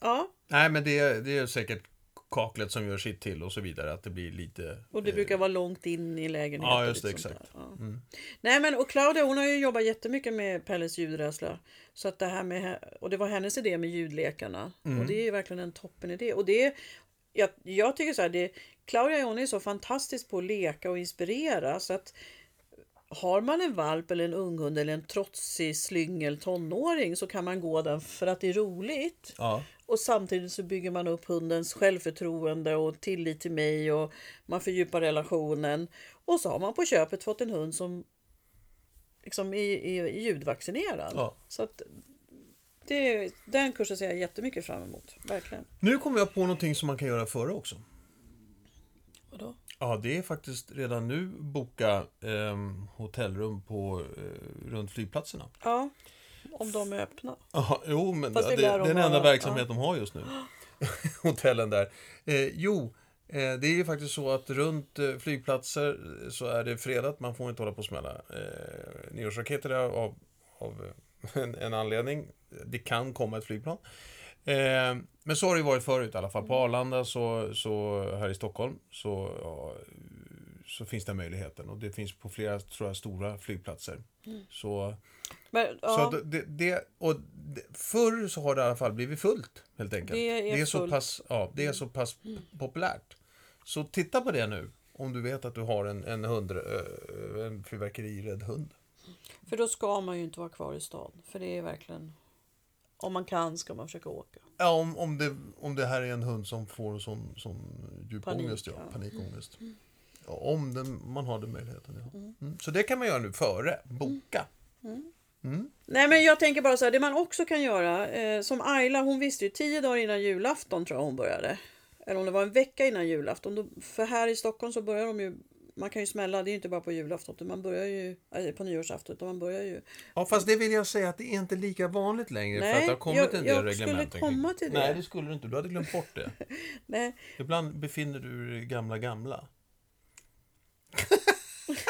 B: ja
A: Nej, men det, är- det är säkert kaklet som gör sitt till och så vidare. Att det blir lite...
B: och det brukar vara långt in i lägenheten.
A: Eh, Ja,
B: och
A: just det,
B: lite sånt
A: exakt. Mm.
B: där. Ja. Nej men och Claudia hon har ju jobbat jättemycket med Pelles ljudrädsla. Så att det här med, och det var hennes idé med ljudlekarna.
A: Mm.
B: Och det är ju verkligen en toppen idé. Och det, är- jag, jag tycker så här, det, Claudia hon är så fantastisk på att leka och inspirera. Så att har man en valp eller en unghund eller en trotsig slyngel tonåring så kan man gå den för att det är roligt.
A: Ja.
B: Och samtidigt så bygger man upp hundens självförtroende och tillit till mig och man fördjupar relationen. Och så har man på köpet fått en hund som liksom är, är ljudvaccinerad.
A: Ja.
B: Så att det, den kursen ser jag jättemycket fram emot. Verkligen.
A: Nu kommer jag på någonting som man kan göra före också.
B: Vadå?
A: Ja, det är faktiskt redan nu boka ehm, hotellrum på, eh, runt flygplatserna.
B: Ja, om de är öppna.
A: Ja, jo, men det,
B: Fast det
A: det,
B: lär
A: är
B: de
A: den enda
B: vara,
A: verksamhet de har just nu. Hotellen där. Eh, jo, eh, det är ju faktiskt så att runt eh, flygplatser eh, så är det fredat. Man får inte hålla på och smälla eh, nyårsraketer där av, av eh, en, en anledning. Det kan komma ett flygplan. Eh, men så har det ju varit förut i alla fall. På
B: Mm.
A: Arlanda så, så här i Stockholm så, ja, så finns den möjligheten. Och det finns på flera, tror jag, stora flygplatser.
B: Mm.
A: Så
B: Men, ja,
A: så att det, det, och det, förr så har det i alla fall blivit fullt helt enkelt.
B: Det är
A: så
B: fullt. Mm.
A: pass, ja, det är så pass populärt. Så titta på det nu om du vet att du har en, en, hund, eh, en fyrverkerirädd hund.
B: För då ska man ju inte vara kvar i stan. För det är verkligen... Om man kan ska man försöka åka.
A: Ja, om, om, det, om det här är en hund som får sån, sån djup
B: Panik,
A: ångest, ja.
B: ja.
A: panikångest. Ja, om den, man har den möjligheten. Ja. Mm. Så det kan man göra nu före,
B: Mm.
A: boka.
B: Nej men jag tänker bara så här, det man också kan göra, eh, som Ayla hon visste ju tio dagar innan julafton tror jag hon började. Eller om det var en vecka innan julafton. Då, för här i Stockholm så börjar de ju, man kan ju smälla, det är ju inte bara på julafton, utan man börjar ju, eller på nyårsafton, utan man börjar ju.
A: Ja, fast det vill jag säga att det är inte lika vanligt längre för
B: Nej,
A: att det har kommit
B: jag-
A: en del
B: jag skulle
A: reglementen. kring-
B: komma till det.
A: Nej, det skulle du inte. Du hade glömt bort det.
B: Nej,
A: Ibland befinner du dig i det gamla gamla.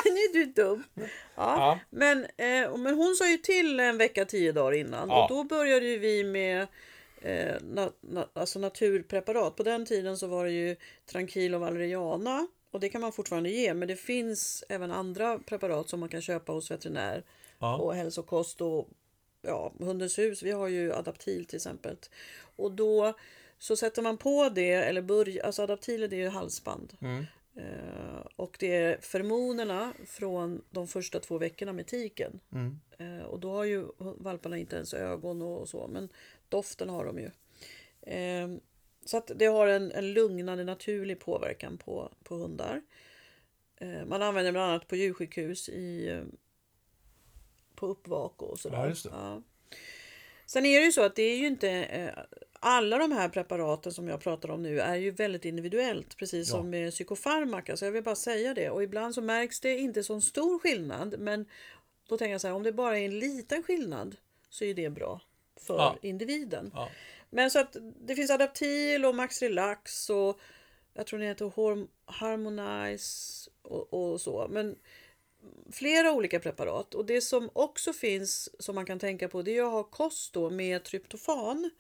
B: nu är du dum. Ja,
A: Ja.
B: Men, eh, men hon sa ju till en vecka, tio dagar innan.
A: Ja.
B: Och då började ju vi med eh, na, na, alltså naturpreparat. På den tiden så var det ju Trankil och Valeriana. Och det kan man fortfarande ge. Men det finns även andra preparat som man kan köpa hos veterinär.
A: Ja.
B: Och hälsokost och ja, Hundens hus. Vi har ju Adaptil till exempel. Och då så sätter man på det, eller börj, alltså Adaptil det är ju halsband.
A: Mm.
B: Eh, och det är fermonerna från de första två veckorna med tiken. Eh, och då har ju valparna inte ens ögon och, och så, men doften har de ju. Eh, så att det har en, en lugnande naturlig påverkan på, på hundar. Eh, man använder bland annat på djursjukhus i, eh, på uppvak och sådär.
A: Ja, just det.
B: Ja. Sen är det ju så att det är ju inte eh, alla de här preparaten som jag pratar om nu är ju väldigt individuellt precis
A: Ja.
B: som med psykofarmaka så jag vill bara säga det och ibland så märks det inte så stor skillnad men då tänker jag så här om det bara är en liten skillnad så är det bra för
A: Ja.
B: individen.
A: Ja.
B: Men så att det finns Adaptil och Max Relax och jag tror den heter Horm- Harmonize och, och så. Men flera olika preparat och det som också finns som man kan tänka på det är att ha kost då med tryptofan.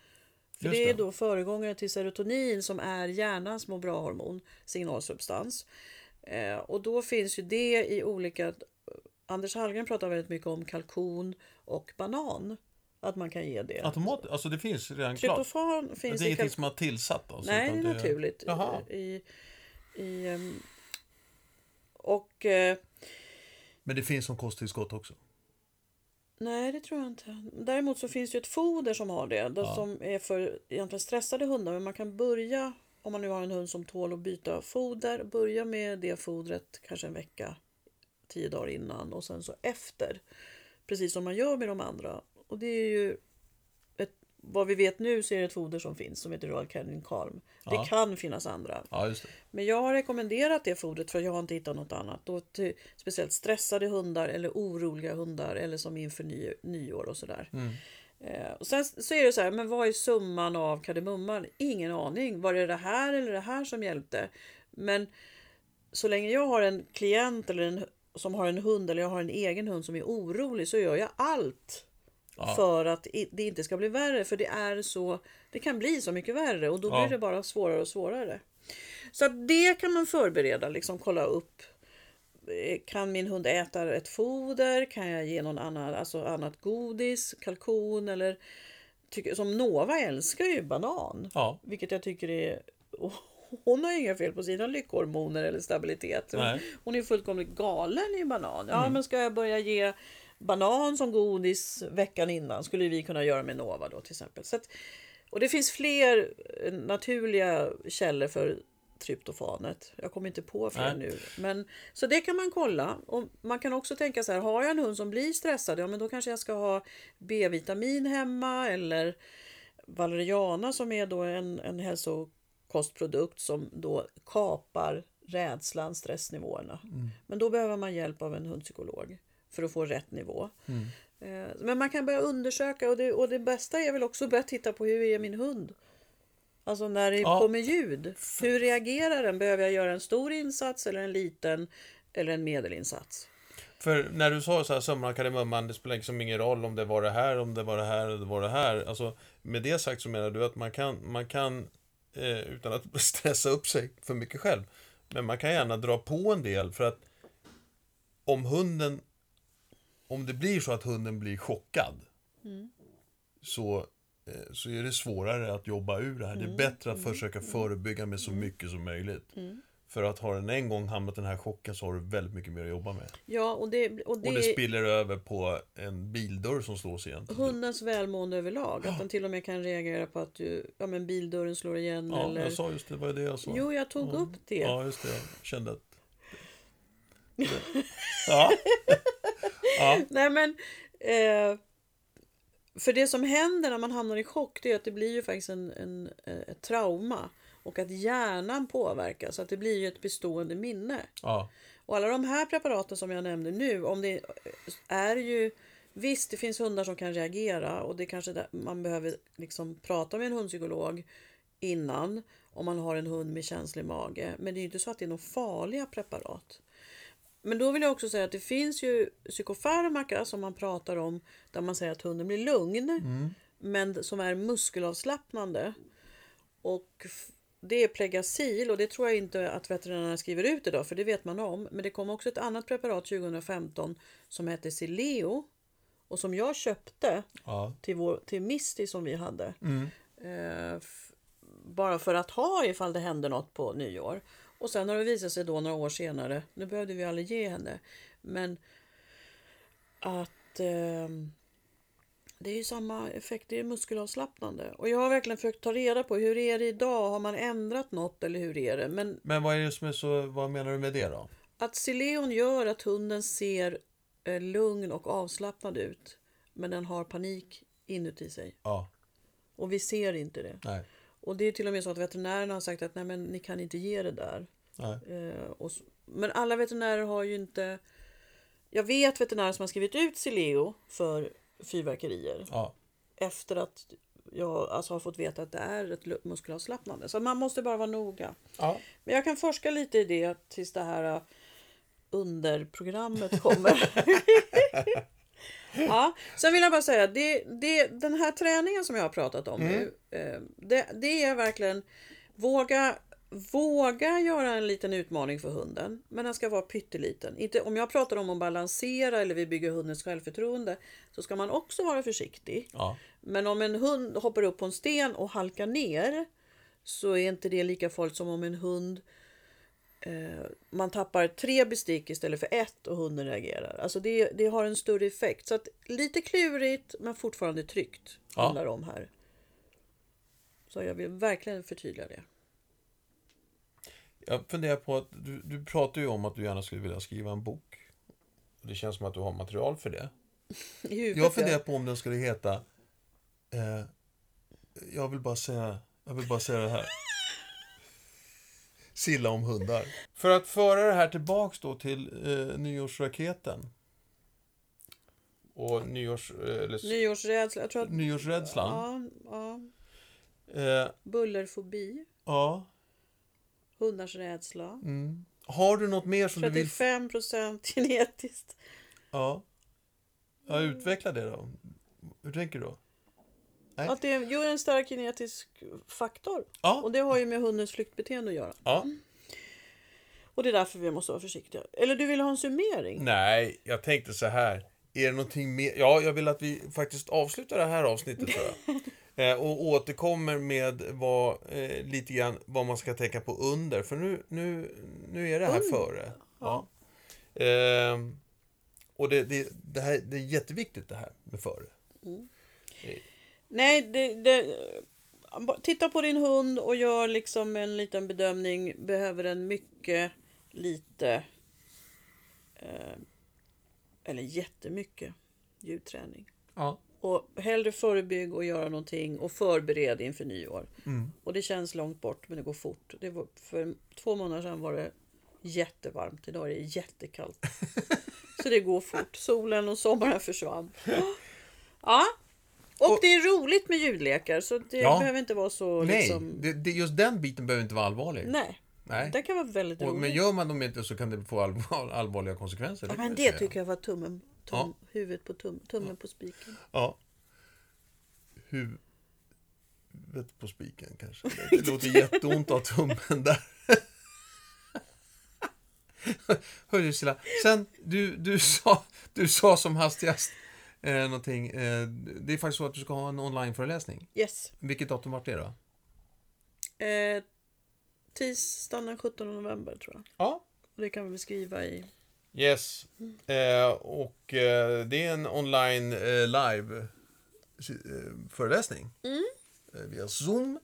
B: För
A: Just
B: det är
A: det.
B: då föregångare till serotonin som är hjärnans må bra-hormon, signalsubstans. Eh, och då finns ju det i olika... Anders Hallgren pratar väldigt mycket om kalkon och banan. Att man kan ge det.
A: Automat, alltså det finns redan klart.
B: Tryptofan
A: Det
B: finns
A: är
B: i
A: ingenting
B: kalkon.
A: som har tillsatt alltså,
B: Nej, det
A: utan
B: är naturligt.
A: Jaha.
B: I, i, ehm, och... Eh,
A: Men det finns som kosttillskott också.
B: nej, det tror jag inte. Däremot så finns det ju ett foder som har det. det Som är för egentligen stressade hundar. Men man kan börja, om man nu har en hund som tål att byta foder, börja med det fodret kanske en vecka, tio dagar innan och sen så efter. Precis som man gör med de andra. Och det är ju ett vad vi vet nu så är det ett foder som finns som heter Royal Canin Calm. Det
A: Ja.
B: kan finnas andra.
A: Ja, just det.
B: Men jag har rekommenderat det fodret för jag har inte hittat något annat. Och till, speciellt stressade hundar eller oroliga hundar eller som inför ny, nyår och sådär. Eh, och sen så är det så här, men vad är summan av kardemumman? Ingen aning. Var det det här eller det här som hjälpte? Men så länge jag har en klient eller en, som har en hund eller jag har en egen hund som är orolig så gör jag allt
A: Ja.
B: för att i- det inte ska bli värre. För det är så, det kan bli så mycket värre och då
A: Ja.
B: blir det bara svårare och svårare. Så att det kan man förbereda, liksom kolla upp. Eh, Kan min hund äta ett foder? Kan jag ge någon annan, alltså annat godis? Kalkon eller... Tycker, som Nova älskar ju banan.
A: Ja.
B: Vilket jag tycker är... och Hon har ju inga fel på sina lyckohormoner eller stabilitet. Hon,
A: Nej. Mm.
B: hon är fullkomligt galen i banan. Ja, men ska jag börja ge banan som godis veckan innan? Skulle vi kunna göra med Nova då till exempel. Så att, och det finns fler eh, naturliga källor för tryptofanet. Jag kommer inte på fler
A: Nej.
B: nu. Men, så det kan man kolla. Och man kan också tänka så här, har jag en hund som blir stressad, ja men då kanske jag ska ha B-vitamin hemma eller valeriana som är då en, en hälsokostprodukt som då kapar rädslan, stressnivåerna. Men då behöver man hjälp av en hundpsykolog för att få rätt nivå. Eh, Men man kan börja undersöka och det, och det bästa är väl också att börja titta på hur är min hund? Alltså när det
A: Ja.
B: kommer ljud, hur reagerar den? Behöver jag göra en stor insats eller en liten eller en medelinsats?
A: För när du sa så här sömmarna kardemumman, det spelar liksom ingen roll om det var det här, om det var det här, eller det var det här. Alltså, med det sagt så menar du att man kan, man kan eh, utan att stressa upp sig för mycket själv, men man kan gärna dra på en del för att om hunden, om det blir så att hunden blir chockad, så, eh, så är det svårare att jobba ur det här. Det är bättre att försöka förebygga med så mycket som möjligt. För att har den en gång hamnat i den här chocken så har du väldigt mycket mer att jobba med.
B: Ja, och det, och det,
A: Och det spiller över på en bildörr som slås igen.
B: hundens välmående överlag. Att den till och med kan reagera på att du, ja, men bildörren slår igen
A: Ja,
B: eller...
A: jag sa just det, vad är det jag sa?
B: Jo, jag tog upp det.
A: Ja, just det, jag kände att... Ja, ja,
B: Nej men... Eh, för det som händer när man hamnar i chock det är att det blir ju faktiskt en, en, eh, ett trauma. Och att hjärnan påverkas, så att det blir ju ett bestående minne.
A: ja,
B: Och alla de här preparaten som jag nämnde nu, om det är ju... Visst, det finns hundar som kan reagera och det kanske där man behöver liksom prata med en hundpsykolog innan om man har en hund med känslig mage. Men det är ju inte så att det är några farliga preparat. Men då vill jag också säga att det finns ju psykofarmaka som man pratar om där man säger att hunden blir lugn men som är muskelavslappnande. Och f- det är Plegacil och det tror jag inte att veterinärerna skriver ut idag för det vet man om. Men det kom också ett annat preparat 2015 som hette Sileo och som jag köpte
A: ja,
B: till, vår, till Misty som vi hade. Eh, f- bara för att ha ifall det hände något på nyår. Och sen har det visat sig då några år senare, nu behövde vi aldrig ge henne, men att ehm, det är ju samma effekt, det är muskelavslappnande. Och jag har verkligen försökt ta reda på hur är det idag, har man ändrat något eller hur är det? Men
A: Men vad är det som är så, vad menar du med det då?
B: att Sileon gör att hunden ser eh, lugn och avslappnad ut, men den har panik inuti sig.
A: Ja,
B: Och vi ser inte det.
A: nej,
B: Och det är till och med så att veterinärerna har sagt att nej men ni kan inte ge det där.
A: nej,
B: Eh, och så, men alla veterinärer har ju inte... Jag vet veterinärer som har skrivit ut Sileo för fyrverkerier
A: ja,
B: efter att jag alltså, har fått veta att det är ett lu- muskelavslappnande. Så man måste bara vara noga.
A: ja,
B: Men jag kan forska lite i det tills det här eh, underprogrammet kommer. ja, sen vill jag bara säga, det, det, den här träningen som jag har pratat om nu, eh, det, det är verkligen våga Våga göra en liten utmaning för hunden, men den ska vara pytteliten. Inte, om jag pratar om att balansera eller vi bygger hundens självförtroende så ska man också vara försiktig.
A: ja,
B: Men om en hund hoppar upp på en sten och halkar ner så är inte det lika farligt som om en hund eh, man tappar tre bestick istället för ett och hunden reagerar. Alltså det, det har en större effekt. Så att lite klurigt men fortfarande tryggt
A: Ja.
B: handlar det om här. Så jag vill verkligen förtydliga det.
A: Jag funderar på att du, du pratar ju om att du gärna skulle vilja skriva en bok. Det känns som att du har material för det.
B: I huvudet,
A: Jag
B: ja.
A: funderar på om den skulle heta eh, jag vill bara säga, jag vill bara säga det här. Silla om hundar. För att föra det här tillbaks då till eh, nyårsraketen. Och nyårs, eh, eller, s-
B: Nyårsrädsla, jag tror att...
A: nyårsrädslan.
B: Ja, ja.
A: Eh,
B: Bullerfobi.
A: ja.
B: Hundars rädsla.
A: Mm. Har du något mer som du vill...
B: 35 genetiskt.
A: Ja. ja. Utveckla det då. Hur tänker du då? Nej.
B: Att det är ju en stark genetisk faktor.
A: Ja.
B: Och det har ju med hundens flyktbeteende att göra.
A: ja.
B: Och det är därför vi måste vara försiktiga. Eller du vill ha en summering?
A: Mm. Nej, jag tänkte så här. Är det någonting mer? Ja, jag vill att vi faktiskt avslutar det här avsnittet tror jag. Eh, och återkommer med vad, eh, lite grann vad man ska tänka på under. För nu, nu, nu är det här före. Ja. Ehm, och det, det, det, här, det är jätteviktigt det här med före.
B: Nej, det, det, titta på din hund och gör liksom en liten bedömning. Behöver den mycket, lite eh, eller jättemycket ljudträning?
A: Ja.
B: Och hellre förebygg och göra någonting och förbered inför nyår.
A: Mm.
B: Och det känns långt bort men det går fort. Det var, för två månader sedan var det jättevarmt. Idag är det jättekallt. Så det går fort. Solen och sommaren försvann. Ja. Och, det är roligt med ljudlekar så det
A: Ja.
B: behöver inte vara så
A: Nej,
B: liksom...
A: det, det, just den biten behöver inte vara allvarlig.
B: Nej.
A: Nej.
B: Den kan vara väldigt
A: Och,
B: rolig.
A: men
B: Men,
A: gör man dem inte så kan det få allvar, allvarliga konsekvenser.
B: ja,
A: kan
B: men
A: jag
B: det
A: säga.
B: tycker jag var tummen. Tum,
A: Ja.
B: Huvudet på tum, tummen på spiken.
A: Ja. Huvudet på spiken kanske. Det låter jätteont av tummen där. Hörru Silla, sen du, du, sa, du sa som hastigast eh, någonting. Eh, det är faktiskt så att du ska ha en onlineföreläsning.
B: Yes.
A: Vilket datum vart det då?
B: Eh, tisdagen den 17 november tror jag.
A: Ja.
B: Och det kan vi beskriva i...
A: Yes. Eh, och eh, det är en online eh, live eh, föreläsning.
B: Mm.
A: Eh, via Zoom.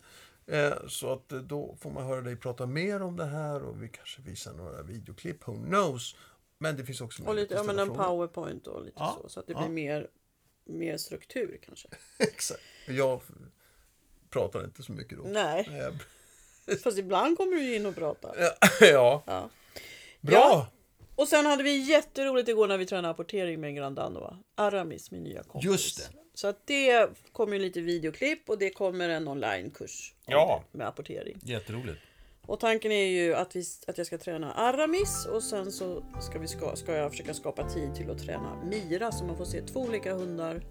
A: Eh, så att eh, då får man höra dig prata mer om det här och vi kanske visar några videoklipp, who knows. Men det finns också
B: Och
A: möjlighet
B: lite, ja,
A: att
B: men
A: ställa
B: en
A: frågor.
B: powerpoint och lite
A: Ja,
B: så. Så att det
A: ja. Mm.
B: blir mer, mer struktur kanske.
A: Exakt. Jag pratar inte så mycket då.
B: Nej,
A: Eh,
B: fast ibland kommer du ju in och pratar.
A: ja.
B: Ja.
A: Bra!
B: Ja. Och sen hade vi jätteroligt igår när vi tränade apportering med en Grandano. Aramis, min nya kompis.
A: Just det.
B: Så att det kommer ju lite videoklipp och det kommer en onlinekurs om
A: Ja.
B: det med apportering.
A: Jätteroligt.
B: Och tanken är ju att, vi, att jag ska träna Aramis och sen så ska, vi ska, ska jag försöka skapa tid till att träna Mira så man får se två olika hundar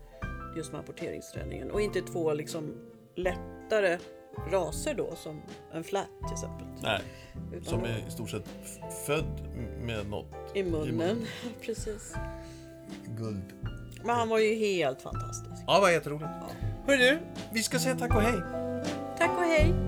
B: just med apporteringsträningen och inte två liksom lättare raser då som en flat till exempel.
A: Nej,
B: Utan
A: i stort sett f- född med något.
B: i
A: i
B: munnen.
A: munnen.
B: Precis.
A: Guld.
B: Men han var ju helt fantastisk.
A: Ja, vad jätteroligt. Hörru du, vi ska säga tack och hej.
B: Tack och hej!